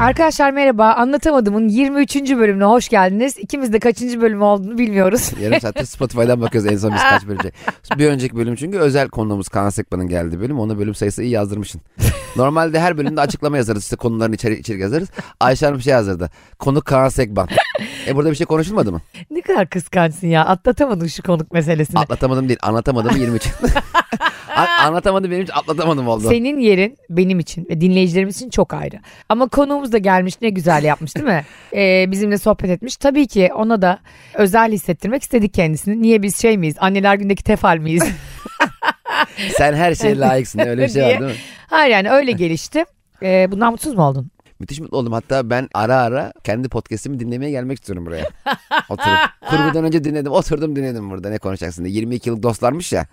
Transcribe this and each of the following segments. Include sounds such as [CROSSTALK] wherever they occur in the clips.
Arkadaşlar merhaba. Anlatamadım'ın 23. bölümüne hoş geldiniz. İkimiz de kaçıncı bölüm olduğunu bilmiyoruz. [LAUGHS] [LAUGHS] Yarım saatte Spotify'dan bakıyoruz en son biz kaç bölümce. Bir önceki bölüm çünkü özel konuğumuz Kaan Sekman'ın geldiği bölüm. Ona bölüm sayısı iyi yazdırmışsın. Normalde her bölümde açıklama yazarız. İşte konuların içeri, içerik yazarız. Ayşe Hanım bir şey yazdırdı. Konu Kaan Sekban. E burada bir şey konuşulmadı mı? ne kadar kıskançsın ya. Atlatamadın şu konuk meselesini. Atlatamadım değil. Anlatamadım 23. A- anlatamadım benim için atlatamadım oldu. Senin yerin benim için ve dinleyicilerimiz için çok ayrı. Ama konuğumuz da gelmiş ne güzel yapmış değil [LAUGHS] mi? Ee, bizimle sohbet etmiş. Tabii ki ona da özel hissettirmek istedik kendisini. Niye biz şey miyiz? Anneler gündeki tefal [LAUGHS] miyiz? Sen her şeye layıksın. Öyle bir şey var değil mi? Hayır yani öyle gelişti. Ee, bundan mutsuz mu oldun? Müthiş mutlu oldum. Hatta ben ara ara kendi podcast'imi dinlemeye gelmek istiyorum buraya. Oturup. Kurgudan önce dinledim. Oturdum dinledim burada. Ne konuşacaksın diye. 22 yıllık dostlarmış ya.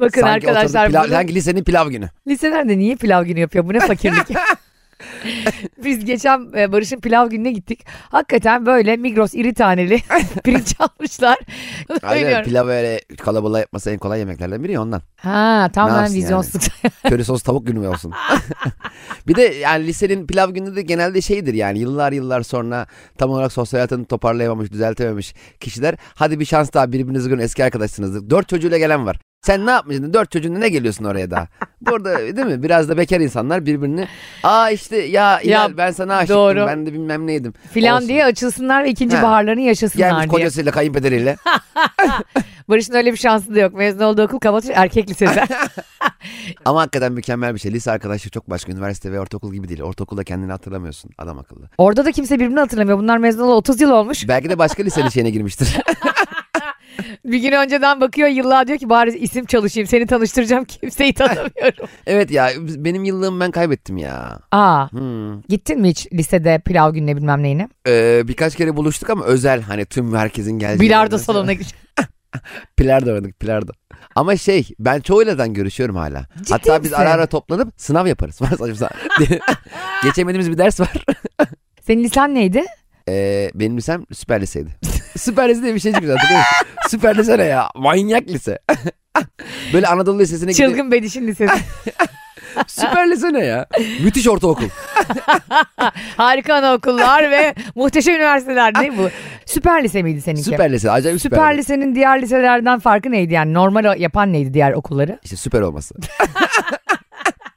Bakın Sanki arkadaşlar. oturduk pilav, bunu- sanki lisenin pilav günü. Liseler de niye pilav günü yapıyor? Bu ne fakirlik? [LAUGHS] Biz geçen e, Barış'ın pilav gününe gittik. Hakikaten böyle Migros iri [LAUGHS] taneli pirinç almışlar. Aynen Söylüyorum. pilav öyle kalabalığa yapması en kolay yemeklerden biri ya ondan. ha Ne tamamen yapsın vizyonsuzluk. [LAUGHS] Köri sos tavuk günü olsun. bir de yani lisenin pilav günü de genelde şeydir yani yıllar yıllar sonra tam olarak sosyal hayatını toparlayamamış, düzeltememiş kişiler. Hadi bir şans daha birbirinizi görün eski arkadaşsınızdır. Dört çocuğuyla gelen var. Sen ne yapmışsın? Dört çocuğunla ne geliyorsun oraya daha? Burada değil mi? Biraz da bekar insanlar birbirini. Aa işte ya, İlal, ben sana aşıktım. doğru. Ben de bilmem neydim. Filan Olsun. diye açılsınlar ve ikinci Ha. baharlarını yaşasınlar Gelmiş diye. kocasıyla kayınpederiyle. Barış'ın öyle bir şansı da yok. Mezun olduğu okul kapatmış erkek [LAUGHS] lisesi. Ama hakikaten mükemmel bir şey. Lise arkadaşlığı çok başka. Üniversite ve ortaokul gibi değil. Ortaokulda kendini hatırlamıyorsun adam akıllı. Orada da kimse birbirini hatırlamıyor. Bunlar mezun olalı 30 yıl olmuş. Belki de başka lisenin şeyine girmiştir. Bir gün önceden bakıyor yıllar diyor ki bari isim çalışayım. Seni tanıştıracağım [LAUGHS] kimseyi [LAUGHS] tanımıyorum. evet ya biz- benim yıllığımı ben kaybettim ya. Aa Hmm. gittin mi hiç lisede pilav gününe bilmem neyine? Ee, birkaç kere buluştuk ama özel hani tüm herkesin geldiği. Bilardo yerler. salonuna git. Bilardo oynadık bilardo. Ama şey ben çoğuyladan görüşüyorum hala. Ciddi Hatta biz misin? ara ara toplanıp sınav yaparız. [LAUGHS] Var saçma sapan. Geçemediğimiz bir ders var. Senin lisan neydi? Ee, benim lisem süper liseydi. [LAUGHS] süper lise diye bir şey çıkmış hatırlıyor musun? süper lise ne ya? Manyak lise. [LAUGHS] Böyle Anadolu Lisesi'ne gidip Çılgın Bediş'in lisesi. [LAUGHS] Süper lise ne ya? Müthiş ortaokul. Harika anaokullar [LAUGHS] ve muhteşem üniversiteler değil mi bu? Süper lise miydi seninki? Ah. Süper lise. Acayip süper. Süper lisenin diğer liselerden farkı neydi yani? Normal yapan neydi diğer okulları? İşte süper olması. [LAUGHS]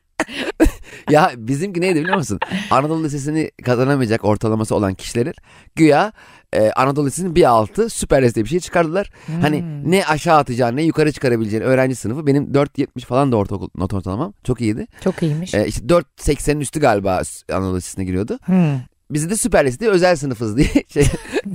ya bizimki neydi biliyor musun? Anadolu Lisesi'ni kazanamayacak ortalaması olan kişilerin güya e, Anadolu Lisesi'nin bir altı süper lise diye bir şey çıkardılar. Hani ne aşağı atacağını ne yukarı çıkarabileceğini öğrenci sınıfı benim 4.70 falan da ortaokul not ortalamam çok iyiydi. Çok iyiymiş. E, işte 4.80'in üstü galiba Anadolu Lisesi'ne giriyordu. Hmm. Bizi de süper lise diye özel sınıfız diye [LAUGHS] [LAUGHS] şey,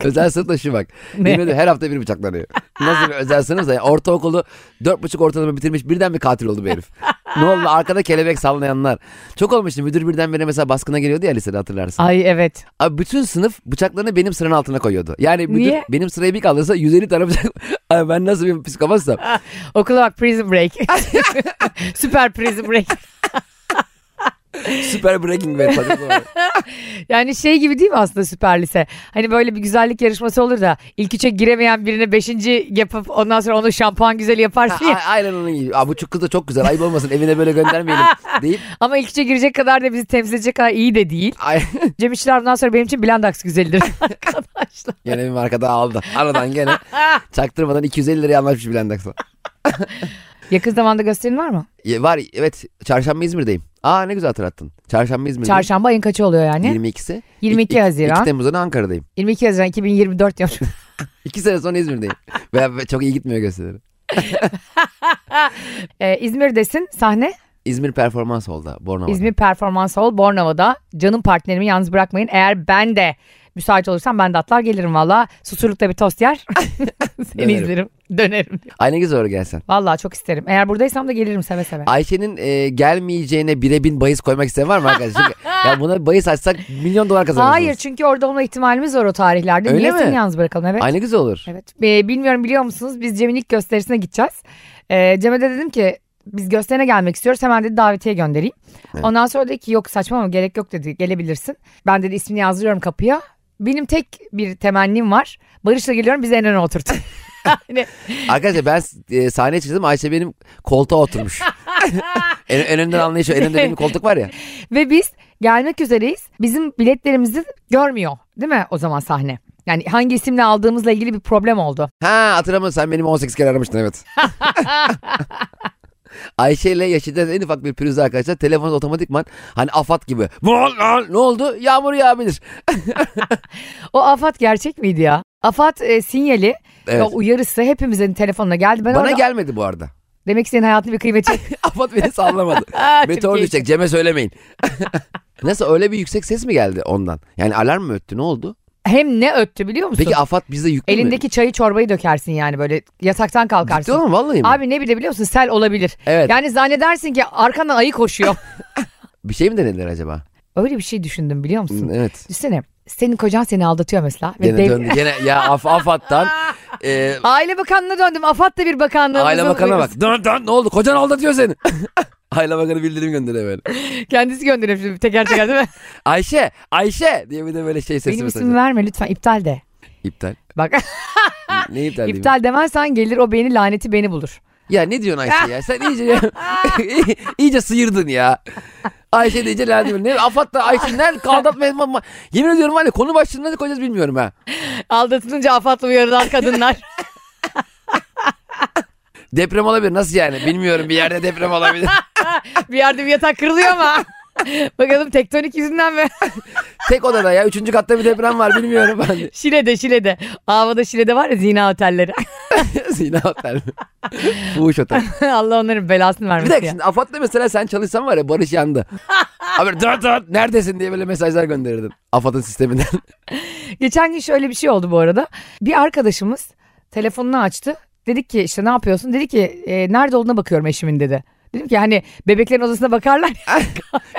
özel sınıf da şu bak. Ne? Yemin ederim her hafta bir bıçaklanıyor. Nasıl bir özel sınıfsa yani ortaokulu dört buçuk ortalama bitirmiş birden bir katil oldu bu herif. ne oldu arkada kelebek sallayanlar. Çok olmuştu müdür birdenbire mesela baskına geliyordu ya lisede hatırlarsın. Ay evet. Abi bütün sınıf bıçaklarını benim sıranın altına koyuyordu. Yani müdür Niye? benim sırayı bir kaldırsa 150 tane bıçak. [LAUGHS] Ay ben nasıl bir psikopatsam. Okula bak Prison [LAUGHS] Break. Süper Prison Break. Süper breaking bad. [LAUGHS] falan. Yani şey gibi değil mi aslında süper lise? Hani böyle bir güzellik yarışması olur da ilk üçe giremeyen birine beşinci yapıp ondan sonra onu şampuan güzeli yaparsın A- ya. Aynen onun gibi. Aa, bu çok kız da çok güzel ayıp olmasın evine [LAUGHS] böyle göndermeyelim deyip. Ama ilk üçe girecek kadar da bizi temsil edecek kadar iyi de değil. Ay, Cem İşçiler bundan sonra benim için Blendax güzelidir arkadaşlar. [LAUGHS] Gene bir marka daha aldı. Aradan gene [LAUGHS] çaktırmadan 250 liraya anlaşmış Blendax'la. Yakın zamanda gösterin var mı? Ya Var evet çarşamba İzmir'deyim. Aa ne güzel hatırlattın. Çarşamba İzmir'deyim. Çarşamba ayın kaçı oluyor yani? 22'si. 22 İ- Haziran. 2 Temmuz'da da Ankara'dayım. 22 Haziran 2024 [LAUGHS] diyorum. 2 sene [LAUGHS] sonra İzmir'deyim. ve, ve çok iyi gitmiyor gösterileri. Ee, İzmir'desin sahne. İzmir Performans Hall'da Bornova'da. İzmir Performans Hall Bornova'da. Canım partnerimi yalnız bırakmayın. Eğer ben de müsait olursam ben de atlar gelirim valla. Susurlukta bir tost yer. [LAUGHS] Seni Dönerim. izlerim. Dönerim. Ay ne güzel olur gelsen. Valla çok isterim. Eğer buradaysam da gelirim seve seve. Ayşe'nin e, gelmeyeceğine bire bin bahis koymak isteyen var mı arkadaşlar? Çünkü [LAUGHS] ya buna bahis açsak milyon dolar kazanırız. Hayır çünkü orada olma ihtimalimiz var o tarihlerde. Öyle Niye mi? seni yalnız bırakalım evet. Ay ne güzel olur. Evet. Ee, bilmiyorum biliyor musunuz biz Cem'in ilk gösterisine gideceğiz. Ee, Cem'e de dedim ki biz gösterine gelmek istiyoruz hemen dedi davetiye göndereyim. Evet. Ondan sonra dedi ki yok saçmalama gerek yok dedi gelebilirsin. Ben dedi ismini yazdırıyorum kapıya. Benim tek bir temennim var. Barış'la geliyorum bizi en öne [LAUGHS] oturtun. Yani Arkadaşlar ben e, sahneye çıktım [LAUGHS] Ayşe benim koltuğa oturmuş. en, en önden anlayışı en önde benim koltuk var ya. Ve biz Gelmek üzereyiz. Bizim biletlerimizi görmüyor değil mi o zaman sahne? Yani hangi isimle aldığımızla ilgili bir problem oldu. Ha hatırlamıyorum sen benim 18 kere [LAUGHS] aramıştın evet. Ayşe ile yaşayan en ufak bir pürüzde arkadaşlar telefonunuz otomatikman hani afat gibi. ne oldu? Yağmur yağabilir. O afat gerçek miydi ya? Afat e, sinyali ve Evet. o uyarısı hepimizin telefonuna geldi. Ben Bana orada- gelmedi [LAUGHS] bu arada. demek ki senin hayatını bir kıymeti. Afat beni sallamadı. [LAUGHS] Meteor Türkiye düşecek [LAUGHS] Cem'e söylemeyin. Nasıl öyle bir yüksek ses mi geldi ondan? Yani alarm mı öttü [LAUGHS] ne oldu? Hem ne öttü biliyor musun? Peki afat bize yüklü mü? Elindeki çayı çorbayı dökersin yani böyle yataktan Ciddi kalkarsın. olan vallahi mi? Abi ne bile biliyor musun sel olabilir. evet. Yani zannedersin ki arkandan ayı koşuyor. [LAUGHS] Bir şey mi denediler acaba? Öyle bir şey düşündüm biliyor Hı, musun? Evet. Düşünsene senin kocan seni aldatıyor mesela. Ve Gene dev- döndü. Gene ya af, afattan. e, Aile bakanlığına döndüm. Afat da bir bakanlığımızın aile bakana uyarısı. bak. Dön dön ne oldu? Kocan aldatıyor seni. [LAUGHS] aile bakanı bildirim gönderiyor böyle. Kendisi gönderiyor şimdi teker teker [LAUGHS] değil mi? Ayşe, Ayşe diye bir de böyle şey sesi Benim mesajı. ismimi verme lütfen iptal de. İptal. Bak Ne iptal diyeyim? iptal demezsen gelir o beni laneti beni bulur. Ya ne diyorsun Ayşe ya? Sen iyice ya, [LAUGHS] iyice sıyırdın ya. Ayşe deyince lan diyorum. Ne afat da Ayşe nerede kaldı atma. Yemin ediyorum var ya konu başlığında ne koyacağız bilmiyorum ha. Aldatılınca afatla uyarılan [LAUGHS] kadınlar. Deprem olabilir nasıl yani bilmiyorum bir yerde deprem olabilir. bir yerde bir yatak kırılıyor [LAUGHS] ama. Bakalım tektonik yüzünden mi? Tek odada ya üçüncü katta bir deprem var bilmiyorum ben de. Şile'de Şile'de. Havada Şile'de var ya zina otelleri. [LAUGHS] [LAUGHS] Zina otel mi? Fuhuş otel. Allah onların belasını Bir vermesin dakika ya. şimdi Afat'la mesela sen çalışsan var ya Barış yandı. Abi dört dört neredesin diye böyle mesajlar gönderirdin. Afat'ın sisteminden. [LAUGHS] Geçen gün şöyle bir şey oldu bu arada. Bir arkadaşımız telefonunu açtı. Dedik ki işte ne yapıyorsun? Dedi ki "E, nerede olduğuna bakıyorum eşimin dedi. Dedim ki hani bebeklerin odasına bakarlar. ya."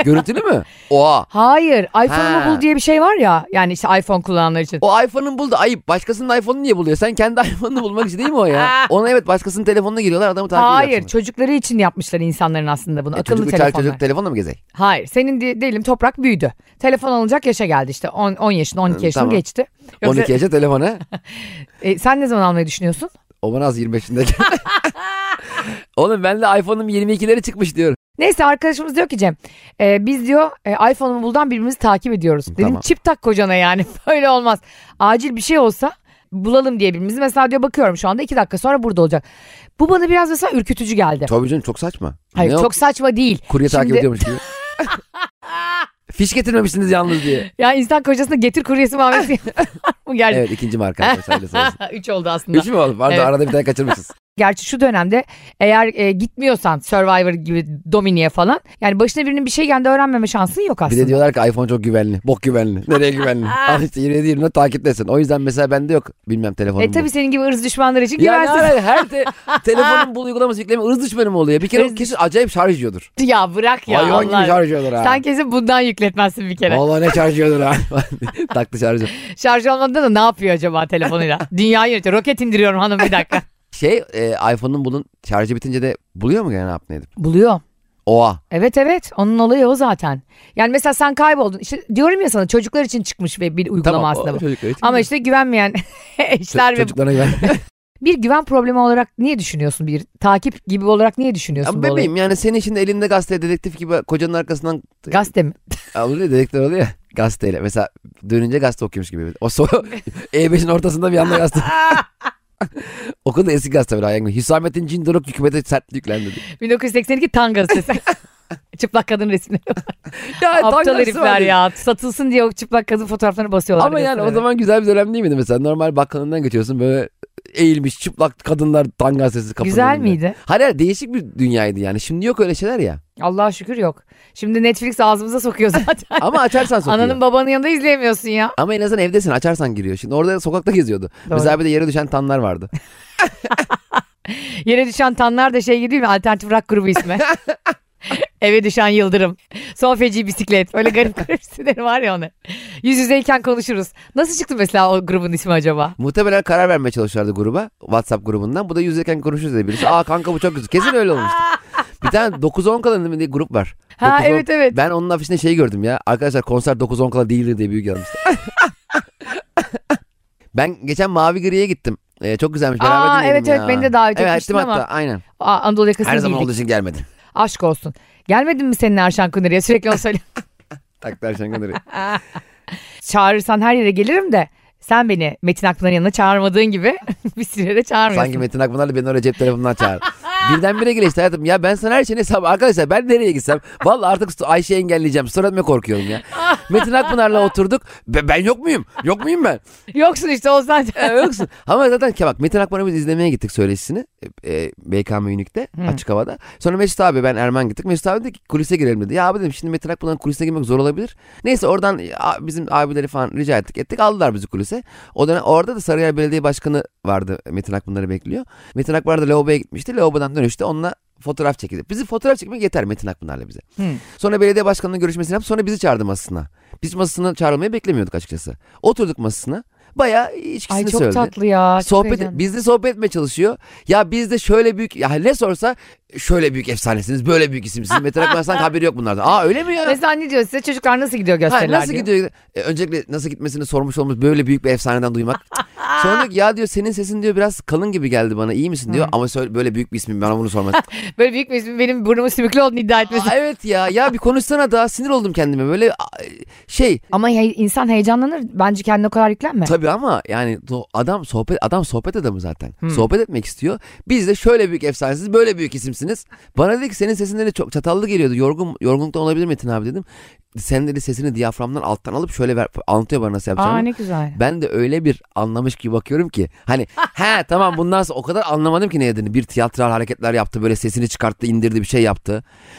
Görüntülü mü? Oha. Hayır iPhone'umu Ha. bul diye bir şey var ya. Yani işte iPhone kullananlar için. O iPhone'un buldu ayıp. Başkasının iPhone'unu niye buluyor? Sen kendi iPhone'unu bulmak için değil mi [LAUGHS] o ya? Ona evet başkasının telefonuna giriyorlar adamı takip Hayır ediyorlar. çocukları için yapmışlar insanların aslında bunu. E, Akıllı çocuk, telefonlar. telefonla. çocuk telefonla mı gezey? Hayır senin de, diyelim toprak büyüdü. Telefon alınacak yaşa geldi işte 10, 10 yaşında 12 yaşını tamam. geçti. Yoksa, 12 yaşa telefona. e, sen ne zaman almayı düşünüyorsun? O bana az 25'indeki. [LAUGHS] Oğlum ben de iPhone'um 22'leri çıkmış diyorum. Neyse arkadaşımız diyor ki Cem e, biz diyor e, iPhone'umu buldan birbirimizi takip ediyoruz. Dedim Tamam. çip tak kocana yani [LAUGHS] böyle olmaz. Acil bir şey olsa bulalım diye birbirimizi. Mesela diyor bakıyorum şu anda iki dakika sonra burada olacak. Bu bana biraz mesela ürkütücü geldi. Tabii canım çok saçma. Hayır Ne o çok saçma değil. Kurye takip Şimdi- [LAUGHS] ediyormuş gibi. Fiş getirmemişsiniz yalnız diye. Ya insan kocasına getir kuryesi muamelesi [LAUGHS] [LAUGHS] Bu geldi. Evet ikinci marka arkadaşlar. hayırlısı [LAUGHS] olsun. Üç oldu aslında. Üç mü oğlum? Pardon Evet. arada bir tane kaçırmışız. Gerçi şu dönemde eğer e, gitmiyorsan Survivor gibi Dominik'e falan yani başına birinin bir şey geldi öğrenmeme şansın yok Bir aslında. de diyorlar ki iPhone çok güvenli. [LAUGHS] Bok güvenli. Nereye güvenli? Al işte 27 24 takiplesin. O yüzden mesela bende yok. Bilmem telefonum. e tabi senin gibi ırz düşmanları için Ya ne güvensiz. ara- her te- [LAUGHS] telefonun bu uygulaması yükleme ırz düşmanı mı oluyor? Bir kere o kesin acayip şarj yiyordur. [LAUGHS] Ya bırak ya Hayvan gibi Allah. şarj yiyordur ha. Sen kesin bundan yükletmezsin bir kere. Vallahi ne şarj [LAUGHS] yiyordur ha. [LAUGHS] Taktı şarjı. Şarj olmadan da ne yapıyor acaba [LAUGHS] telefonuyla? Dünyayı yönetiyor. Roket indiriyorum hanım bir dakika. Şey e, iPhone'un bunun şarjı bitince de buluyor mu gene ne yaptın edip? Buluyor. Oha. Evet evet onun olayı o zaten. Yani mesela sen kayboldun. İşte diyorum ya sana çocuklar için çıkmış ve bir uygulama Tamam. aslında o [LAUGHS] bu. çocuklar için Ama güzel. işte güvenmeyen [LAUGHS] eşler Ço- ve Çocuklarına güven. bir güven problemi olarak niye düşünüyorsun bir takip gibi olarak niye düşünüyorsun Ama bu olayı? bebeğim yani senin şimdi elinde gazete dedektif gibi kocanın arkasından Gazete [LAUGHS] mi? Abi ne dedekler oluyor ya gazeteyle. Mesela dönünce gazete okuyormuş gibi. O so [LAUGHS] E5'in ortasında bir [LAUGHS] anda gazete. o kadar eski gazete böyle hayal gibi. Hüsamettin Cindoruk hükümete sert yüklendi. diye. 1982 Tan gazetesi. [LAUGHS] çıplak kadın resmi. Ya, Aptal tanrısı var herifler diye. ya. Satılsın diye o çıplak kadın fotoğraflarını basıyorlar. Ama yani o gazetelere. zaman güzel bir dönem değil miydi mesela? Normal bakkalından geçiyorsun böyle eğilmiş çıplak kadınlar tan gazetesi kapının Güzel önünde. miydi? Hayır hayır, değişik bir dünyaydı yani. Şimdi yok öyle şeyler ya. Allah'a şükür yok. Şimdi Netflix ağzımıza sokuyor zaten. [LAUGHS] Ama açarsan [LAUGHS] sokuyor. Ananın babanın yanında izleyemiyorsun ya. Ama en azından evdesin açarsan giriyor. Şimdi orada sokakta geziyordu. Doğru. Mesela bir de yere düşen [LAUGHS] tanlar vardı. Yere düşen tanlar da şey gibi değil mi? Alternatif rock grubu ismi. [LAUGHS] Eve düşen yıldırım. Son feci bisiklet. Öyle garip garip isimleri var ya onun. Yüz yüzeyken konuşuruz. Nasıl çıktı mesela o grubun ismi acaba? Muhtemelen karar vermeye çalışıyorlardı gruba. WhatsApp grubundan. Bu da yüzdeyken konuşuruz dedi birisi. Aa kanka bu çok güzel. Kesin öyle olmuştu. [LAUGHS] Bir tane 9-10 kalan diye grup var. Ha 9-10 evet evet. Ben onun afişinde şey gördüm ya. Arkadaşlar konser 9-10 kala değildir diye büyük yazmıştı. [LAUGHS] ben geçen Mavi Gri'ye gittim. Ee, çok güzelmiş. Beraber Aa, dinleyelim evet, ya. evet, beni de davet evet, etmiştin ettim hatta. ama Aynen. Aa, Anadolu yakasını Her zaman bildik. olduğu için gelmedin. [LAUGHS] Aşk olsun. Gelmedin mi senin Erşan Kuneri'ye? Sürekli onu söyle. Taklar şankanları. Çağırırsan her yere gelirim de sen beni Metin Akpınar'ın yanına çağırmadığın gibi [LAUGHS] bir sürede çağırmıyorsun. Sanki Metin Akpınar'la beni oraya cep telefonundan çağır. [LAUGHS] Birdenbire gelişti hayatım. Ya ben sana her şeyin hesabı. Arkadaşlar ben nereye gitsem. Valla artık sto- Ayşe'yi engelleyeceğim. Story atmaya korkuyorum ya. Metin Akpınar'la oturduk. Be- ben yok muyum? Yok muyum ben? Yoksun işte o zaten. Ya yoksun. Ama zaten ki bak Metin Akpınar'ı biz izlemeye gittik söyleşisini. E, e, BKM Ünlük'te açık havada. Sonra Mesut abi ben Erman gittik. Mesut abi dedi ki kulise girelim dedi. Ya abi dedim şimdi Metin Akpınar'ın kulise girmek zor olabilir. Neyse oradan e, a- bizim abileri falan rica ettik ettik. Aldılar bizi kulise. O dönem orada da Sarıyer Belediye Başkanı vardı Metin Akpınar'ı bekliyor. Metin Akpınar da Leoba'ya gitmişti. Leoba'dan dönüşte onunla fotoğraf çekildi. Bizi fotoğraf çekmek yeter Metin Akpınar'la bize. Hı. Sonra belediye başkanının görüşmesini yaptı. Sonra bizi çağırdı masasına. Biz masasına çağrılmayı beklemiyorduk açıkçası. Oturduk masasına. Bayağı içkisini Ay çok söyledi. tatlı ya. çok Sohbet, heyecanlı. bizle sohbet etmeye çalışıyor. Ya bizde şöyle büyük, ya ne sorsa şöyle büyük efsanesiniz, böyle büyük isimsiniz. Metin Akpınar sanki haberi yok bunlardan. Aa öyle mi ya? Mesela ne diyor size çocuklar nasıl gidiyor Ha, gösteriler nasıl diyor. gidiyor? E, öncelikle nasıl gitmesini sormuş olmuş böyle büyük bir efsaneden [LAUGHS] duymak. Sonra diyor ki, ya diyor senin sesin diyor biraz kalın gibi geldi bana iyi misin diyor. Ama söyle, böyle büyük bir ismin bana bunu sormaz. Böyle büyük bir ismin benim burnumu sümüklü olduğunu iddia etmesi. [LAUGHS] Aa, evet ya ya bir konuşsana daha sinir oldum kendime böyle a- şey Ama he- insan heyecanlanır. Bence kendine o kadar yüklenme. Tabii ama yani do- adam sohbet adam sohbet adamı zaten. Sohbet etmek istiyor. Biz de şöyle büyük efsanesiniz, böyle büyük isimsiniz. Bana dedi ki senin sesinden de çok çatallı geliyordu. Yorgun yorgunluktan olabilir Metin abi dedim. Sen dedi sesini diyaframdan alttan alıp şöyle ver, anlatıyor bana Aa nasıl yapacağını. ne güzel. Ben de öyle bir anlamış gibi bakıyorum ki. [LAUGHS] Hani he tamam bundan sonra o kadar anlamadım ki ne dediğini. Bir tiyatral hareketler yaptı böyle sesini çıkarttı indirdi bir şey yaptı.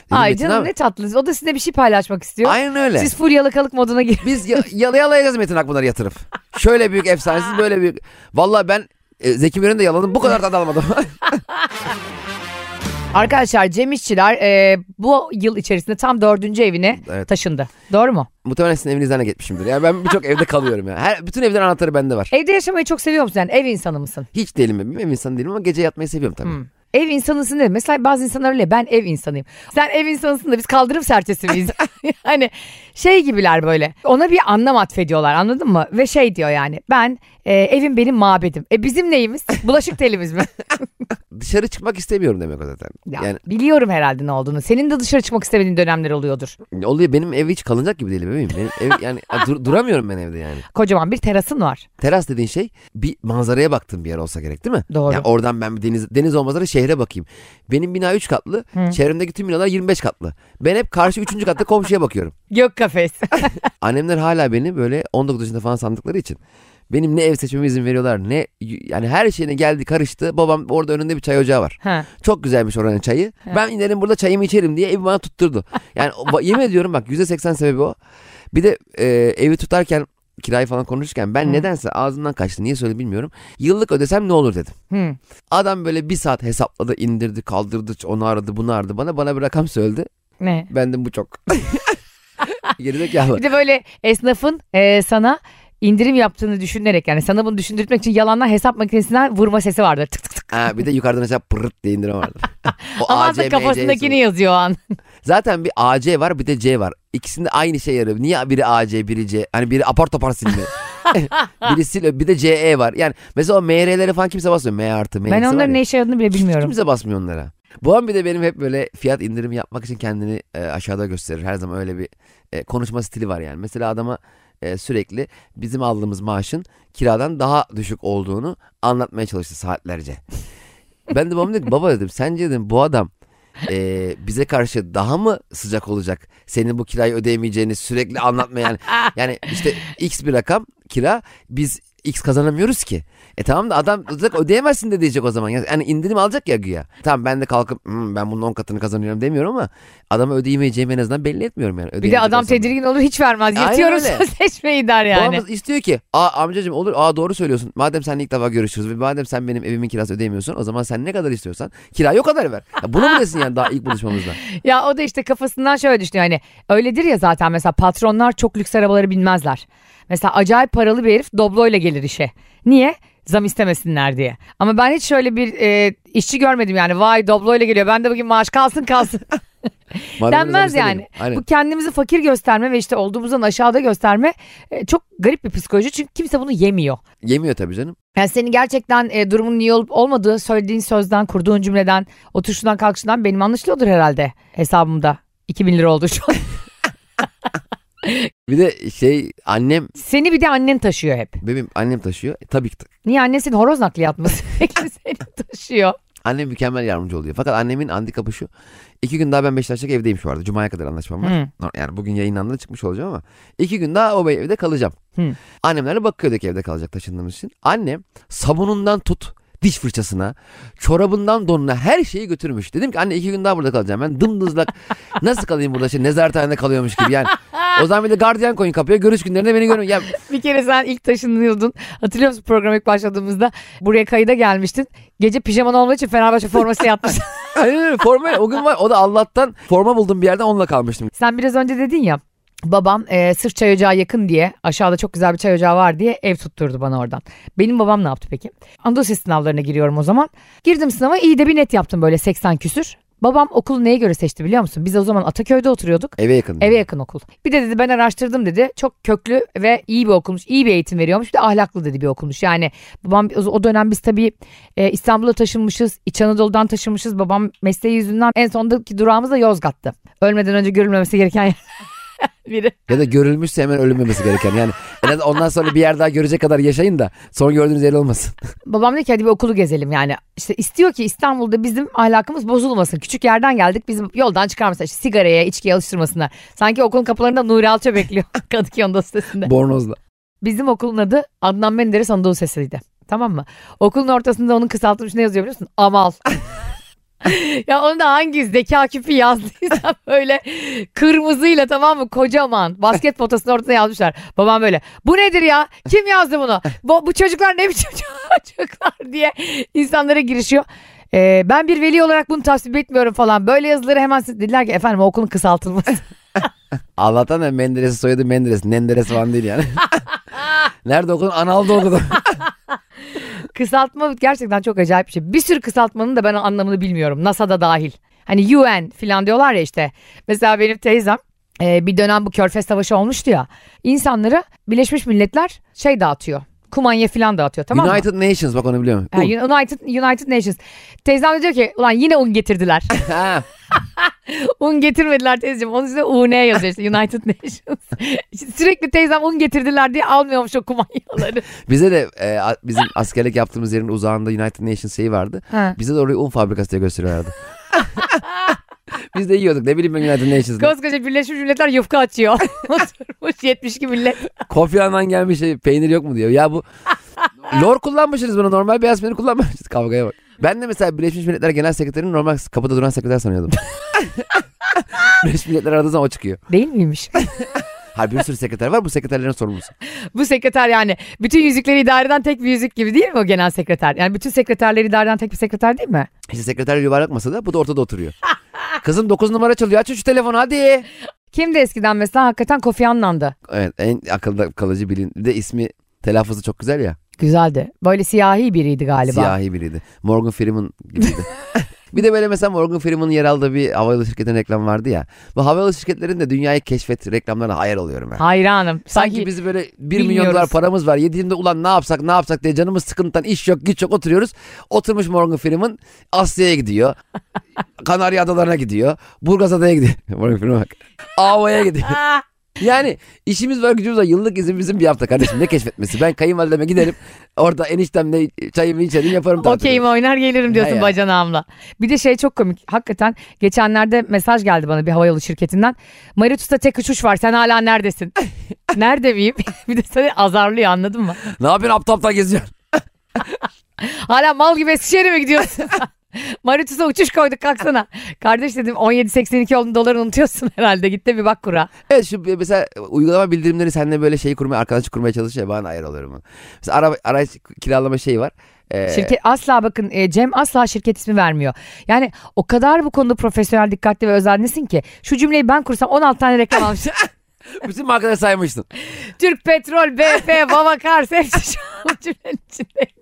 Dedim, Ay "Metin canım abi, ne tatlı. O da sizinle bir şey paylaşmak istiyor. Aynen öyle. Siz full yalakalık moduna gir. [LAUGHS] Biz ya- yalı yalayacağız Metin Akpınar'ı yatırıp. Şöyle [LAUGHS] büyük efsanesiz böyle büyük. Vallahi ben e, Zeki Müren'i de yaladım. Bu kadar da almadım. Arkadaşlar Cem İşçiler e, bu yıl içerisinde tam dördüncü evine Evet. taşındı. Doğru mu? [LAUGHS] Muhtemelen sizin evinizden de gitmişimdir. Yani ben birçok evde kalıyorum ya. Her, bütün evlerin anahtarı bende var. Evde yaşamayı çok seviyor musun? Yani ev insanı mısın? Hiç değilim ben. Ev insanı değilim ama gece yatmayı seviyorum tabii. Ev insanısın dedim. Mesela bazı insanlar öyle ben ev insanıyım. Sen ev insanısın da biz kaldırım serçesi miyiz? [LAUGHS] hani şey gibiler böyle. Ona bir anlam atfediyorlar anladın mı? Ve şey diyor yani ben e, evim benim mabedim. E bizim neyimiz? Bulaşık telimiz mi? Dışarı çıkmak istemiyorum demek o zaten. Ya, Yani Biliyorum herhalde ne olduğunu. Senin de dışarı çıkmak istemediğin dönemler oluyordur. oluyor benim ev hiç kalınacak gibi değil bebeğim. Benim ev yani dur- duramıyorum ben evde yani. Kocaman bir terasın var. Teras dediğin şey bir manzaraya baktığım bir yer olsa gerek değil mi? Doğru. Yani oradan ben bir deniz, deniz olmasa da şehre bakayım. Benim bina 3 katlı. Çevremdeki tüm binalar 25 katlı. Ben hep karşı 3. katta komşuya bakıyorum. Gök kafes. Annemler hala beni böyle 19 yaşında falan sandıkları için benim ne ev seçmeme izin veriyorlar ne yani her şeyine geldi karıştı. Babam orada önünde bir çay ocağı var. ha. Çok güzelmiş oranın çayı. Ben inerim burada çayımı içerim diye evi bana tutturdu. Yani o- ba- yemin ediyorum bak %80 sebebi o. Bir de e, evi tutarken kirayı falan konuşurken ben nedense ağzımdan kaçtı. Niye söyle bilmiyorum. Yıllık ödesem ne olur dedim. Hı. Adam böyle bir saat hesapladı, indirdi, kaldırdı, onu aradı, bunu aradı. Bana bana bir rakam söyledi. Ne? Ben de bu çok. [LAUGHS] Gerideki ya. Bir de böyle esnafın e, sana indirim yaptığını düşünerek yani sana bunu düşündürtmek için yalandan hesap makinesinden vurma sesi vardır. Tık tık tık. Ha, bir de yukarıdan aşağı pırırt diye indirim vardı. O Aman AC, da MC kafasındakini yazıyor o an. Zaten bir AC var bir de C var. İkisinde aynı şey yarıyor. Niye biri AC biri C? Hani biri apar [LAUGHS] topar silme. [LAUGHS] biri sil bir de CE var. Yani mesela o MR'lere falan kimse basmıyor. M artı M Ben eksi var onların ya. ne işe yaradığını bile Hiç bilmiyorum. kimse basmıyor onlara. Bu an bir de benim hep böyle fiyat indirimi yapmak için kendini e, aşağıda gösterir. Her zaman öyle bir e, konuşma stili var yani. Mesela adama e, sürekli bizim aldığımız maaşın kiradan daha düşük olduğunu anlatmaya çalıştı saatlerce. Ben de babam dedim baba dedim sence dedim bu adam e, bize karşı daha mı sıcak olacak? Senin bu kirayı ödeyemeyeceğini sürekli [LAUGHS] anlatmaya yani. Yani işte x bir rakam kira biz x kazanamıyoruz ki. E tamam da adam zaten ödeyemezsin de diyecek o zaman. Yani indirim alacak ya güya. Tamam ben de kalkıp "Hmm, ben bunun 10 katını kazanıyorum demiyorum ama adama ödeyemeyeceğimi en azından belli etmiyorum yani. Bir de Ödeyemeyecek adam olsam da. tedirgin olur hiç vermez. Aynen Yatıyorum [LAUGHS] öyle. sözleşmeyi der yani. Babamız istiyor ki aa amcacığım olur aa doğru söylüyorsun. Madem sen ilk defa görüşürüz ve madem sen benim evimin kirası ödeyemiyorsun o zaman sen ne kadar istiyorsan kirayı o kadar ver. Ya bunu mu desin yani daha [LAUGHS] ilk buluşmamızda? Ya o da işte kafasından şöyle düşünüyor hani öyledir ya zaten mesela patronlar çok lüks arabaları bilmezler. Mesela acayip paralı bir herif Doblo'yla gelir işe. Niye? Zam istemesinler diye. Ama ben hiç şöyle bir e, işçi görmedim yani vay Doblo'yla geliyor ben de bugün maaş kalsın kalsın Madem hani denmez ödeyemezsen yani. demeyin. [LAUGHS] Aynen. Bu kendimizi fakir gösterme ve işte olduğumuzdan aşağıda gösterme e, çok garip bir psikoloji çünkü kimse bunu yemiyor. Yemiyor tabii canım. Yani senin gerçekten e, durumun iyi olup olmadığı söylediğin sözden, kurduğun cümleden, oturuşundan, kalkışından benim anlaşılıyordur herhalde hesabımda. 2000 lira oldu şu an. Bir de şey annem [LAUGHS] Seni bir de annen taşıyor hep. bebeğim annem taşıyor. E, tabii ki ta- Niye annen senin horoz nakliyat mı? [LAUGHS] Sürekli seni taşıyor. annem mükemmel yardımcı oluyor. Fakat annemin handikapı şu. İki gün daha ben Beşiktaş'taki evdeyim şu arada. Cuma'ya kadar anlaşmam var. Hı. No- Yani bugün yayınlandı çıkmış olacağım ama. iki gün daha o evde kalacağım. Hı. Annemlerle Bakırköy'deki evde kalacak taşındığımız için. Annem sabunundan tut diş fırçasına, çorabından donuna her şeyi götürmüş. Dedim ki anne iki gün daha burada kalacağım. Ben dımdızlak [LAUGHS] nasıl kalayım burada? Şey, nezarethanede kalıyormuş gibi yani. O zaman bir de gardiyan koyun kapıya. Görüş günlerinde beni görün. Ya Bir kere sen ilk taşınıyordun. Hatırlıyor musun program ilk başladığımızda? Buraya kayıda gelmiştin. Gece pijaman olmadığı için Fenerbahçe forması yatmışsın. Aynen hani öyle. Forma o gün var. O da Allah'tan forma buldum bir yerden onunla kalmıştım. sen biraz önce dedin ya. Babam e, sırf çay ocağı yakın diye aşağıda çok güzel bir çay ocağı var diye ev tutturdu bana oradan. Benim babam ne yaptı peki? Anadolu Lisesi sınavlarına giriyorum o zaman. Girdim sınava iyi de bir net yaptım böyle 80 küsür. Babam okulu neye göre seçti biliyor musun? Biz o zaman Ataköy'de oturuyorduk. Eve yakın. Eve yakın okul. Bir de dedi ben araştırdım dedi. Çok köklü ve iyi bir okulmuş. iyi bir eğitim veriyormuş. Bir de ahlaklı dedi bir okulmuş. Yani babam o- o dönem biz tabii e, İstanbul'a taşınmışız. İç Anadolu'dan taşınmışız. Babam mesleği yüzünden en sondaki durağımız da Yozgat'tı. Ölmeden önce görülmemesi gereken [LAUGHS] yer. biri. Ya da görülmüşse hemen ölünmemesi gereken. Yani en az ondan sonra bir yer daha görecek kadar yaşayın da son gördüğünüz yer olmasın. Babam dedi ki hadi bir okulu gezelim yani. İşte istiyor ki İstanbul'da bizim ahlakımız bozulmasın. Küçük yerden geldik bizim yoldan çıkarmasınlar. İşte sigaraya, içkiye alıştırmasınlar. Sanki okulun kapılarında Nuri Alça [LAUGHS] bekliyor Kadıköy Anadolu sitesinde. Bornozla. Bizim okulun adı Adnan Menderes Anadolu Sesi'ydi. Tamam mı? Okulun ortasında onun kısaltılmış ne yazıyor biliyor musun? Amal. ya onu da hangi zeka küpü yazdıysa [LAUGHS] böyle kırmızıyla tamam mı kocaman basket potasının ortasına yazmışlar. Babam böyle bu nedir ya kim yazdı bunu bu, bu çocuklar ne biçim [LAUGHS] çocuklar diye insanlara girişiyor. Ee, ben bir veli olarak bunu tasvip etmiyorum falan böyle yazıları hemen siz- dediler ki efendim o okulun kısaltılması. Allah'tan da Menderes'i soyadı Menderes. Nenderes falan [LAUGHS] değil yani. Nerede okudun? Anal'da okudum. Kısaltma gerçekten çok acayip bir şey. Bir sürü kısaltmanın da ben anlamını bilmiyorum. NASA'da dahil. Hani UN filan diyorlar ya işte. Mesela benim teyzem e, bir dönem bu Körfez Savaşı olmuştu ya. İnsanlara Birleşmiş Milletler şey dağıtıyor. Kumanya filan dağıtıyor [LAUGHS] tamam mı? United Nations bak onu biliyor musun? Ha, United, United Nations. Teyzem de diyor ki ulan yine un getirdiler. [LAUGHS] Ha, un getirmediler teyzeciğim. Onun üstüne UN yazıyor işte United [LAUGHS] Nations. Sürekli teyzem un getirdiler diye almıyormuş o kumanyaları. bize de e, a- bizim askerlik yaptığımız yerin uzağında United Nations şeyi vardı. Ha. Bize de orayı un fabrikası [LAUGHS] diye gösteriyorlardı. Biz de yiyorduk. Ne bileyim ben United Nations'da. Koskoca Birleşmiş Milletler yufka açıyor. [LAUGHS] Oturmuş 72 millet. Kofi Annan gelmiş şey, peynir yok mu diyor. [LAUGHS] Ya bu lor kullanmışsınız bunu normal beyaz peynir kullanmamışsınız kavgaya bak. Ben de mesela Birleşmiş Milletler Genel Sekreterini normal kapıda duran [LAUGHS] sekreter sanıyordum. Birleşmiş Milletler aradığı zaman o çıkıyor. Değil miymiş? Hayır bir sürü sekreter var bu sekreterlerin sorumlusu. [LAUGHS] Bu sekreter yani bütün yüzükleri idareden tek bir yüzük gibi değil mi o genel sekreter? Yani bütün sekreterleri idareden tek bir sekreter değil mi? İşte sekreter yuvarlak masada bu da ortada oturuyor. Kızım 9 numara çalıyor aç şu telefonu hadi. Kim de eskiden mesela hakikaten Kofi Annan'dı. Evet en akılda kalıcı bilin. Bir de ismi telaffuzu çok güzel ya. Güzeldi. Böyle siyahi biriydi galiba. Siyahi biriydi. Morgan Freeman gibiydi. [LAUGHS] bir de böyle mesela Morgan Freeman'ın yer aldığı bir havayolu şirketinin reklamı vardı ya. Bu havayolu şirketlerin de dünyayı keşfet reklamlarına hayal oluyorum ben. Hayranım. Sanki, Sanki, biz böyle 1 milyon bilmiyoruz. dolar paramız var. Yediğimde ulan ne yapsak ne yapsak diye canımız sıkıntıdan iş yok güç yok oturuyoruz. Oturmuş Morgan Freeman Asya'ya gidiyor. Kanarya Adalarına gidiyor. Burgaz Adaya gidiyor. [LAUGHS] Morgan Freeman bak. Ava'ya [LAUGHS] gidiyor. [LAUGHS] Aa, Yani işimiz var gücümüz var. Yıllık izin bizim bir hafta kardeşim. Ne keşfetmesi? Ben kayınvalideme giderim. Orada eniştemle çayımı içerim yaparım tatilimi. Okeyim oynar gelirim diyorsun Ya. bacanağımla. Bir de şey çok komik. Hakikaten geçenlerde mesaj geldi bana bir havayolu şirketinden. Maritus'ta tek uçuş var sen hala [LAUGHS] neredesin? Nerede miyim? [LAUGHS] bir de seni azarlıyor anladın mı? Ne yapıyorsun aptal aptal geziyorsun? Hala mal gibi Eskişehir'e mi [LAUGHS] gidiyorsun? Maritus'a uçuş koyduk kalksana. Kardeş dedim 17.82 oldu doları unutuyorsun [LAUGHS] herhalde. Git de bir bak kura. Evet şu mesela uygulama bildirimleri seninle böyle şeyi kurmaya, arkadaşlık kurmaya çalışıyor. ya, Bana ayar oluyorum. onu. Mesela araba, araç kiralama şeyi var. Ee, Şirket asla bakın e, Cem asla şirket ismi vermiyor. Yani o kadar bu konuda profesyonel dikkatli ve özenlisin ki şu cümleyi ben kursam 16 tane [LAUGHS] reklam almışım. Bütün markaları saymıştın. Türk Petrol, BP, Vavakars hepsi şu an bu cümlenin [LAUGHS] içindeydi.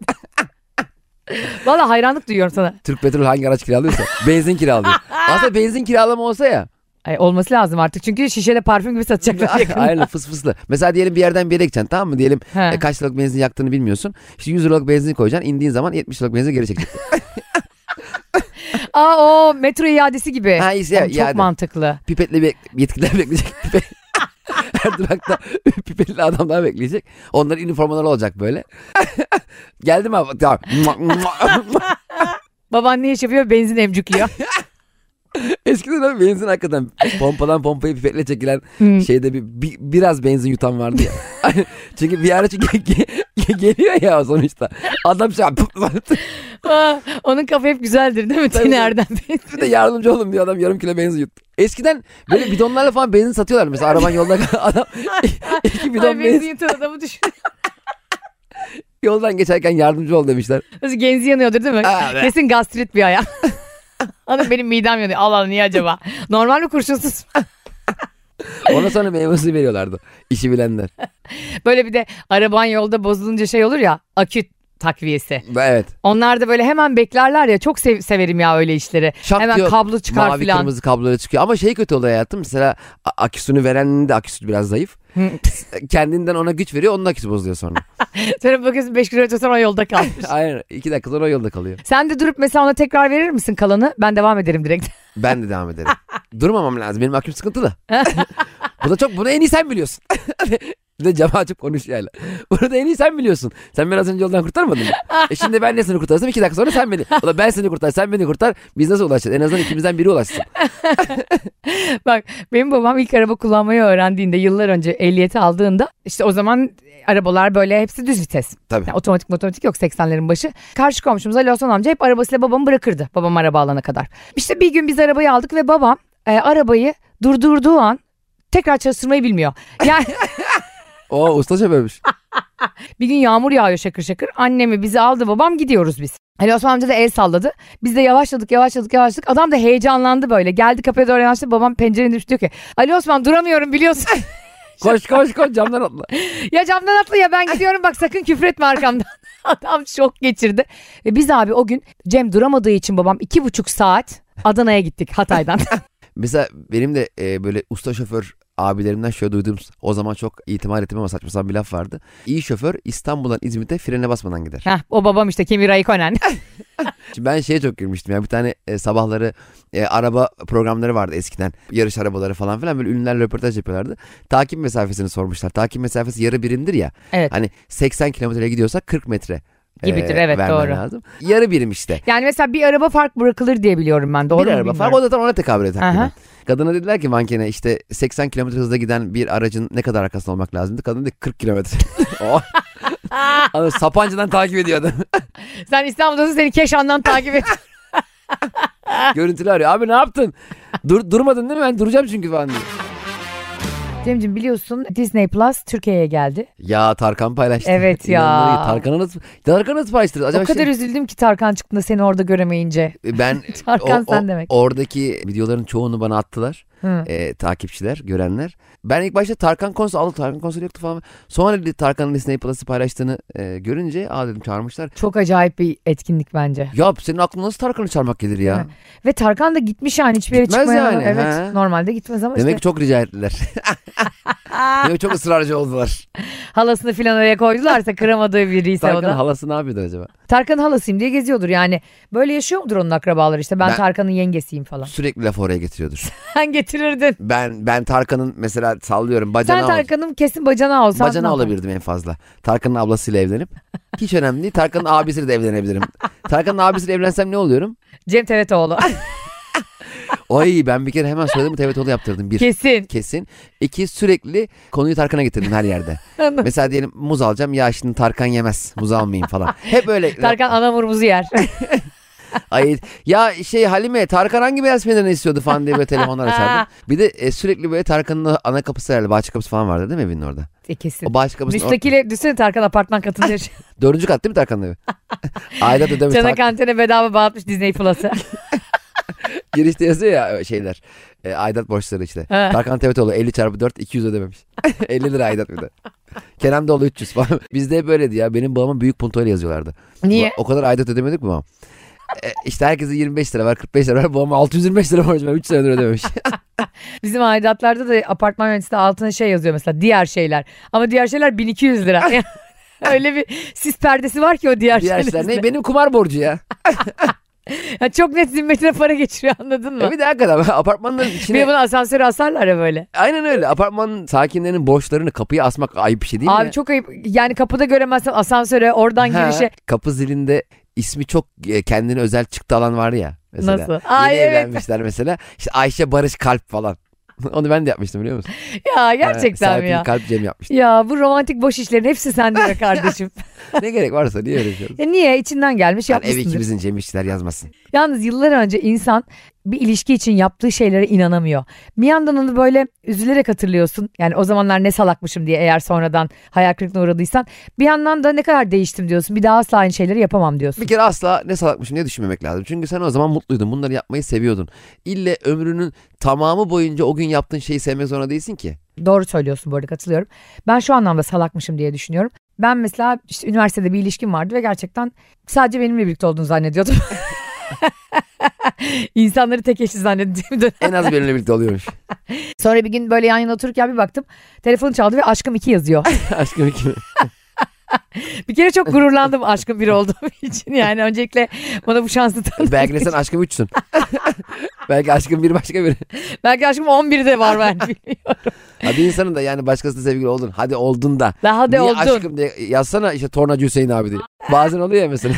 Valla hayranlık duyuyorum sana. Türk Petrol hangi araç kiralıyorsa [LAUGHS] benzin kiralıyor. Aslında benzin kiralama olsa ya. Ay, olması lazım artık çünkü şişede parfüm gibi satacaklar yakında. [LAUGHS] Aynen fıs fıslı. Mesela diyelim bir yerden bir yere gideceksin tamam mı? Diyelim şey He. e, kaç liralık benzin yaktığını bilmiyorsun. İşte 100 liralık benzin koyacaksın. indiğin zaman 70 liralık benzin geri çekecek. Aa o metro iadesi gibi. Ha, işte E, Oğlum, çok iade. mantıklı. [LAUGHS] [LAUGHS] Pipetle bir yetkililer bekleyecek. Pipet. Her durakta [LAUGHS] pipetli adamlar bekleyecek. Onların üniformaları olacak böyle. [LAUGHS] Geldim abi. Tamam. Baban ne iş yapıyor? Benzin emcükliyor. Eskiden abi benzin hakikaten pompadan pompaya pipetle çekilen Hmm. şeyde bir, bir- biraz benzin yutan vardı ya. [LAUGHS] çünkü bir ara çünkü ge- ge- geliyor ya sonuçta. Adam şey Aa, Onun kafa hep güzeldir değil mi? Tabii. Tine Erdem Bey. [LAUGHS] bir de yardımcı olun diyor adam yarım kilo benzin yuttu. Eskiden böyle bidonlarla falan benzin satıyorlar. Mesela araban yolda [LAUGHS] adam iki bidon Ay benzin, benzin yutan adamı düşün. yoldan geçerken yardımcı ol demişler. [LAUGHS] Nasıl genzi yanıyordur değil mi? Aa, be. Kesin gastrit bir ayağı. Adam benim midem yanıyor. Allah Allah niye acaba? Normal mi kurşunsuz? [LAUGHS] Ona sonra meyvesi veriyorlardı. İşi bilenler. Böyle bir de araban yolda bozulunca şey olur ya aküt takviyesi. Evet. Onlar da böyle hemen beklerler ya çok sev- severim ya öyle işleri. Şak hemen diyor, kablo çıkar Mavi filan. kırmızı kabloları çıkıyor. Ama şey kötü oluyor hayatım. Mesela a- aküsünü verenin de aküsü biraz zayıf. Hı. [LAUGHS] Kendinden ona güç veriyor. Onun aküsü bozuluyor [LAUGHS] sonra. Sonra bakıyorsun 5 kilometre sonra yolda [LAUGHS] kalmış. Aynen. iki dakika sonra o yolda kalıyor. Sen de durup mesela ona tekrar verir misin kalanı? Ben devam ederim direkt. Ben de [LAUGHS] devam ederim. Durmamam lazım. Benim aküm sıkıntılı. bu da çok bunu en iyi [LAUGHS] sen biliyorsun. bir de cama açıp konuş yani. Bunu da en iyi sen biliyorsun. Sen beni az önce yoldan kurtarmadın mı? e şimdi ben de seni kurtarsam iki dakika sonra sen [LAUGHS] beni. O da ben seni kurtar sen beni kurtar. Biz nasıl ulaşacağız? En azından ikimizden biri ulaşsın. Bak benim babam ilk araba kullanmayı öğrendiğinde yıllar önce ehliyeti aldığında işte o zaman e, arabalar böyle hepsi düz vites. Tabii. Yani otomatik motomatik yok 80'lerin başı. Karşı komşumuza Loson amca hep arabasıyla babamı bırakırdı babam araba alana kadar. İşte bir gün biz arabayı aldık ve babam e, arabayı durdurduğu an tekrar çalıştırmayı bilmiyor. Yani Oo usta şoförmüş. bir gün yağmur yağıyor şakır şakır. Annemi bizi aldı babam gidiyoruz biz. Ali Osman amca da el salladı. Biz de yavaşladık yavaşladık yavaşladık. Adam da heyecanlandı böyle. Geldi kapıya doğru yanaştı. Babam pencerenin düştü diyor ki Ali Osman duramıyorum biliyorsun. Koş koş koş camdan atla. ya camdan atla ya ben gidiyorum bak sakın küfretme arkamdan. [LAUGHS] Adam şok geçirdi. Ve biz abi o gün Cem duramadığı için babam iki buçuk saat Adana'ya gittik [LAUGHS] Hatay'dan. Mesela benim de e, böyle usta şoför abilerimden şöyle duyduğum o zaman çok itimat ettim ama saçma sapan bir laf vardı. İyi şoför İstanbul'dan İzmit'e frene basmadan gider. Heh, o babam işte Kemir [LAUGHS] Aykonen. Şimdi ben şeye çok gülmüştüm ya bir tane e, sabahları e, araba programları vardı eskiden. Yarış arabaları falan filan böyle ünlülerle röportaj yapıyorlardı. Takip mesafesini sormuşlar. Takip mesafesi yarı birimdir ya. Evet. Hani 80 kilometreye gidiyorsa 40 metre. e, Gibidir, evet, vermen doğru. lazım. Yarı birim işte. Yani mesela bir araba fark bırakılır diye biliyorum ben. Doğru bir mu araba bilmiyorum. falan. O zaten ona tekabül eder. Aha. takriben. Kadına dediler ki mankene işte 80 kilometre hızla giden bir aracın ne kadar arkasında olmak lazımdı? Kadın dedi ki 40 kilometre. [LAUGHS] [LAUGHS] Oh. Adam Sapanca'dan takip ediyordu. Sen İstanbul'dasın seni Keşan'dan takip [LAUGHS] et. Görüntülü arıyor. Abi ne yaptın? Dur, durmadın değil mi? Ben duracağım çünkü falan diyor. Cemciğim biliyorsun Disney Plus Türkiye'ye geldi. Ya Tarkan paylaştı. Evet ya. İnanılır. Tarkan'a nasıl, Tarkan'a nasıl paylaştınız? Acaba o kadar şey- üzüldüm ki Tarkan çıktığında seni orada göremeyince. ben [LAUGHS] Tarkan o- o- sen demek. Oradaki videoların çoğunu bana attılar. Hı. e, takipçiler, görenler. Ben ilk başta Tarkan konseri aldı, Tarkan konseri yoktu falan. Sonra dedi Tarkan'ın Disney Plus'ı paylaştığını e, görünce aa dedim çağırmışlar. Çok acayip bir etkinlik bence. Ya senin aklına nasıl Tarkan'ı çağırmak gelir ya? Evet. Ve Tarkan da gitmiş yani hiçbir yere Gitmez çıkmaya. yani, Evet ha. normalde gitmez ama Demek ki işte çok rica ettiler. [LAUGHS] Demek çok ısrarcı oldular. halasını filan oraya koydularsa kıramadığı biriyse o Tarkan'ın da. halası ne yapıyordu acaba? Tarkan'ın halasıyım diye geziyordur yani. Böyle yaşıyor mudur onun akrabaları işte ben, Ben- Tarkan'ın yengesiyim falan. [LAUGHS] Sürekli laf oraya getiriyordur. Sen getirirdin. Ben ben Tarkan'ın mesela sallıyorum Sen bacana Tarkan'ım kesin bacana olsan. ne Bacana yapardın? olabilirdim en fazla. Tarkan'ın ablasıyla evlenip. Hiç önemli değil. Tarkan'ın abisiyle de evlenebilirim. Tarkan'ın abisiyle evlensem ne oluyorum? Cem Tevetoğlu. Ay ben bir kere hemen söyledim evet onu yaptırdım. [LAUGHS] Bir. kesin. kesin. İki sürekli konuyu Tarkan'a getirdim her yerde. Mesela diyelim muz alacağım ya şimdi Tarkan yemez muz almayayım falan. Hep öyle. [LAUGHS] Tarkan anamurumuzu yer. Ay, ya şey Halime Tarkan hangi beyaz peynirini istiyordu falan diye böyle telefonlar açardım. Bir de e, sürekli böyle Tarkan'ın o ana kapısı herhalde bahçe kapısı falan vardı değil mi evinin orada? E, kesin. O bahçe kapısı Müstakile düşsene Tarkan apartman katında yaşıyor. dördüncü kat değil mi Tarkan'ın evi? Aidat ödemiş. Cana Tarkan. kantine bedava bağlatmış Disney [LAUGHS] Plus'ı. Girişte yazıyor ya şeyler. E, aidat borçları işte. Ha. Tarkan Tevetoğlu 50 çarpı 4 200 ödememiş. [LAUGHS] 50 lira aidat bir de. Kenan Doğulu 300 falan. [LAUGHS] Bizde hep böyleydi ya. Benim babamın büyük puntoyla yazıyorlardı. Niye? O kadar aidat ödemedik mi babam? E, işte herkese 25 lira var 45 lira var. Babama 625 lira borcum var. 3 [LAUGHS] senedir ödememiş. Bizim aidatlarda da apartman yöneticisi altına şey yazıyor mesela diğer şeyler. Ama diğer şeyler 1200 [LAUGHS] lira. [LAUGHS] Öyle bir sis perdesi var ki o diğer, Diğer şeyler. şeyler ne? Benim kumar borcu ya. Ya çok net zimmetine para geçiriyor anladın mı? E bir de hakikaten [LAUGHS] apartmanların içine... Bir de bunu asansöre asarlar ya böyle. Aynen öyle. Apartman sakinlerinin borçlarını kapıya asmak ayıp bir şey değil mi? Abi çok ayıp. Yani kapıda göremezsen asansöre oradan Ha, girişe. Kapı zilinde ismi çok e, kendine özel çıktı alan var ya. Mesela. Nasıl? Yeni Ay, evet. evlenmişler mesela. İşte Ayşe Barış Kalp falan. [LAUGHS] Onu ben de yapmıştım biliyor musun? [LAUGHS] Ya gerçekten mi Serpil ya? Kalp Cem yapmıştı. Ya bu romantik boş işlerin hepsi sende [LAUGHS] be kardeşim. ne gerek varsa niye öyle [LAUGHS] yapıyoruz? Ya niye? içinden gelmiş Yani Hani ev yapmışsındır. ikimizin Cem işçiler yazmasın. Yalnız yıllar önce insan bir ilişki için yaptığı şeylere inanamıyor. Bir yandan onu böyle üzülerek hatırlıyorsun. Yani o zamanlar ne salakmışım diye eğer sonradan hayal kırıklığına uğradıysan. Bir yandan da ne kadar değiştim diyorsun. Bir daha asla aynı şeyleri yapamam diyorsun. Bir kere asla ne salakmışım diye düşünmemek lazım. Çünkü sen o zaman mutluydun. Bunları yapmayı seviyordun. İlle ömrünün tamamı boyunca o gün yaptığın şeyi sevmek zorunda değilsin ki. Doğru söylüyorsun bu arada katılıyorum. Ben şu anlamda salakmışım diye düşünüyorum. Ben mesela işte üniversitede bir ilişkim vardı ve gerçekten sadece benimle birlikte olduğunu zannediyordum. [LAUGHS] İnsanları tek eşi zannettiğim dönem. En az benimle [LAUGHS] birlikte oluyormuş. Sonra bir gün böyle yan yana otururken bir baktım. Telefonu çaldı ve aşkım iki [LAUGHS] yazıyor. Aşkım ikimi. bir kere çok gururlandım aşkım biri olduğum [LAUGHS] için. Yani öncelikle bana bu şansı tanıdın. Belki de sen [LAUGHS] aşkım üçsün. Belki aşkım bir başka biri. Belki aşkım 11'de [LAUGHS] var ben bilmiyorum. Ha bir insanın da yani başkasıyla sevgili oldun. Hadi oldun da. Daha da Niye oldun. aşkım diye yazsana işte tornacı Hüseyin abi diye. Bazen oluyor ya mesela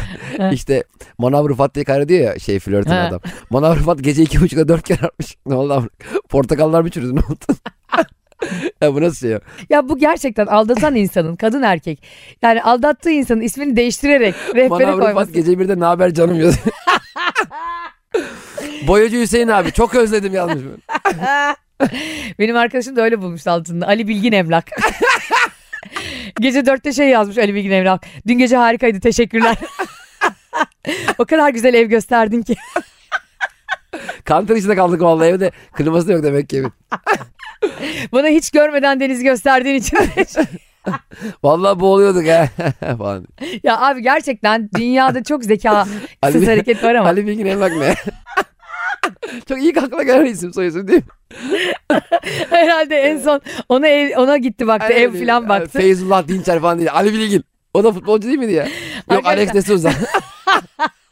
işte Manav Rıfat diye kaydediyor ya şey flörtün Ha. adam. Manav Rıfat gece iki buçukta dört kere atmış. Ne oldu abi? Portakallar mı çürüdü ne oldu? [LAUGHS] ya bu nasıl şey ya? Ya bu gerçekten aldatan insanın kadın erkek. Yani aldattığı insanın ismini değiştirerek rehbere Manav Rıfat koyması. gece birde ne haber canım yazıyor. Boyacı Hüseyin abi çok özledim yazmış. Benim arkadaşım da öyle bulmuş altında. Ali Bilgin Emlak. [LAUGHS] gece dörtte şey yazmış Ali Bilgin Emlak. Dün gece harikaydı teşekkürler. [LAUGHS] o kadar güzel ev gösterdin ki. [LAUGHS] Kantar içinde kaldık vallahi evde. Kliması da yok demek ki evin. Bana hiç görmeden deniz gösterdiğin için. [LAUGHS] Vallahi boğuluyorduk ha. [LAUGHS] falan. ya abi gerçekten dünyada çok zeka Ali- siz hareket var ama. Ali Bilgin Emlak ne? [LAUGHS] Çok iyi akla gelen isim soyisim değil mi? Herhalde en son ona ev- ona gitti baktı ev Aynen. filan baktı. Feyzullah Dinçer falan değil. Ali Bilgin. O da futbolcu [LAUGHS] değil miydi ya? Yok Arkadaşlar- Alex de Souza. [LAUGHS]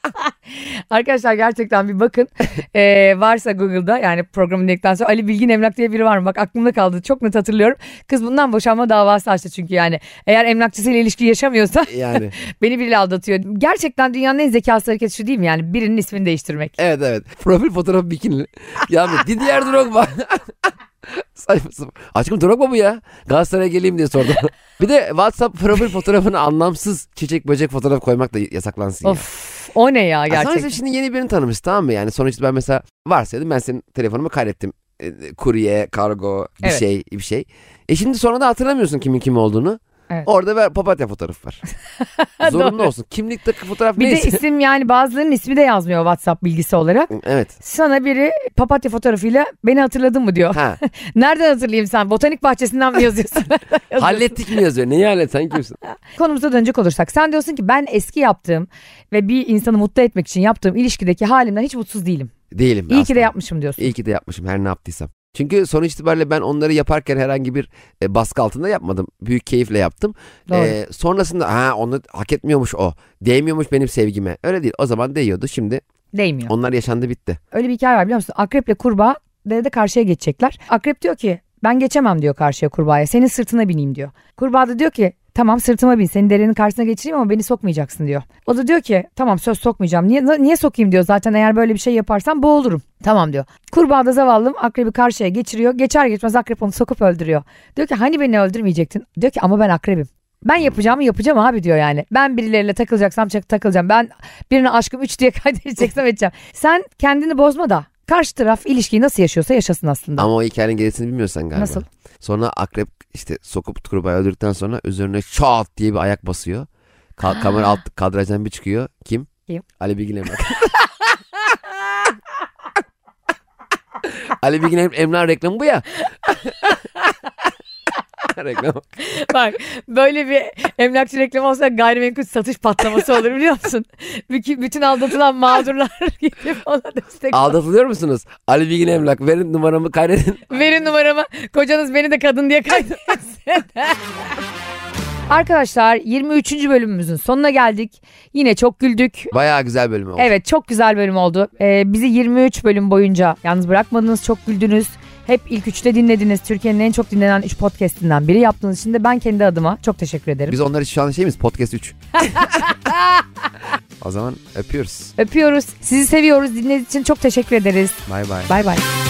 Arkadaşlar gerçekten bir bakın. Ee, varsa Google'da yani programın linkten sonra Ali Bilgin Emlak diye biri var mı? Bak aklımda kaldı. Çok net hatırlıyorum. Kız bundan boşanma davası açtı çünkü yani. Eğer emlakçısıyla ilişki yaşamıyorsa [LAUGHS] yani. beni biriyle aldatıyor. Gerçekten dünyanın en zekası hareketi şu değil mi? Yani birinin ismini değiştirmek. Evet evet. Profil fotoğrafı bikinli. Ya bir Didier Drogba. [LAUGHS] Saçma sapan. Aşkım Drogba bu ya. Galatasaray'a geleyim diye sordu. [LAUGHS] bir de WhatsApp profil fotoğrafına anlamsız çiçek böcek fotoğraf koymak da yasaklansın. ya. Of o ne ya Gerçekten. Sonra gerçekten. sen şimdi yeni birini tanımış tamam mı? Yani sonuçta ben mesela varsaydım ben senin telefonumu kaydettim. E, Kurye, kargo, bir Evet. şey, bir şey. E şimdi sonra da hatırlamıyorsun kimin kim olduğunu. Evet. Orada ver papatya fotoğrafı var. [LAUGHS] Zorunlu Doğru. olsun. Kimlikte fotoğraf Bir de neyse. isim yani bazılarının ismi de yazmıyor WhatsApp bilgisi olarak. [LAUGHS] Evet. Sana biri papatya fotoğrafıyla beni hatırladın mı [LAUGHS] diyor. Ha. Nereden hatırlayayım sen? Botanik bahçesinden mi yazıyorsun? Hallettik mi yazıyor? Neyi hallet? Sen kimsin? Konumuza dönecek olursak sen diyorsun ki ben eski yaptığım ve bir insanı mutlu etmek için yaptığım ilişkideki halimden hiç mutsuz değilim. Değilim. İyi ki de aslında. yapmışım diyorsun. İyi ki de yapmışım her ne yaptıysam. Çünkü sonuç itibariyle ben onları yaparken herhangi bir e, baskı altında yapmadım. Büyük keyifle yaptım. Doğru. E, sonrasında ha onu hak etmiyormuş o. Değmiyormuş benim sevgime. Öyle değil. O zaman değiyordu. Şimdi Değmiyor. onlar yaşandı bitti. Öyle bir hikaye var biliyor musun? Akreple kurbağa derede karşıya geçecekler. Akrep diyor ki ben geçemem diyor karşıya kurbağaya. Senin sırtına bineyim diyor. Kurbağa da diyor ki tamam sırtıma bin seni derenin karşısına geçireyim ama beni sokmayacaksın diyor. O da diyor ki tamam söz sokmayacağım. Niye, niye sokayım diyor zaten eğer böyle bir şey yaparsam boğulurum. Tamam diyor. Kurbağa da zavallım akrebi karşıya geçiriyor. Geçer geçmez akrep onu sokup öldürüyor. Diyor ki hani beni öldürmeyecektin? Diyor ki ama ben akrebim. Ben yapacağımı yapacağım abi diyor yani. Ben birileriyle takılacaksam çak- takılacağım. Ben birine aşkım 3 diye [LAUGHS] kaydedeceksem edeceğim. Sen kendini bozma da karşı taraf ilişkiyi nasıl yaşıyorsa yaşasın aslında. Ama o hikayenin gerisini bilmiyorsan galiba. Nasıl? Sonra akrep işte sokup kurbağayı öldürdükten sonra üzerine şat diye bir ayak basıyor. Ka- kamera alt kadrajdan bir çıkıyor. Kim? Kim? Ali [LAUGHS] Bilgin Emlak. Ali Bilgin Em- Emlak reklamı [LAUGHS] bu ya. Reklam. Bak böyle bir emlakçı reklamı olsa gayrimenkul satış patlaması olur biliyor musun? Bütün, bütün aldatılan mağdurlar [LAUGHS] gidip ona destek Aldatılıyor musunuz? Ali Bilgin Emlak verin [LAUGHS] numaramı kaydedin. Verin numaramı. Kocanız beni de kadın diye kaydetmesin. [LAUGHS] Arkadaşlar 23. bölümümüzün sonuna geldik. Yine çok güldük. Bayağı güzel bölüm oldu. Evet çok güzel bölüm oldu. Ee, bizi 23 bölüm boyunca yalnız bırakmadınız, çok güldünüz. Hep ilk üçte dinlediniz. Türkiye'nin en çok dinlenen 3 podcastinden biri yaptığınız için de ben kendi adıma çok teşekkür ederim. Biz onlar için şu an şey miyiz? Podcast 3. o zaman öpüyoruz. Öpüyoruz. Sizi seviyoruz. Dinlediğiniz için çok teşekkür ederiz. Bay bay. Bay bay.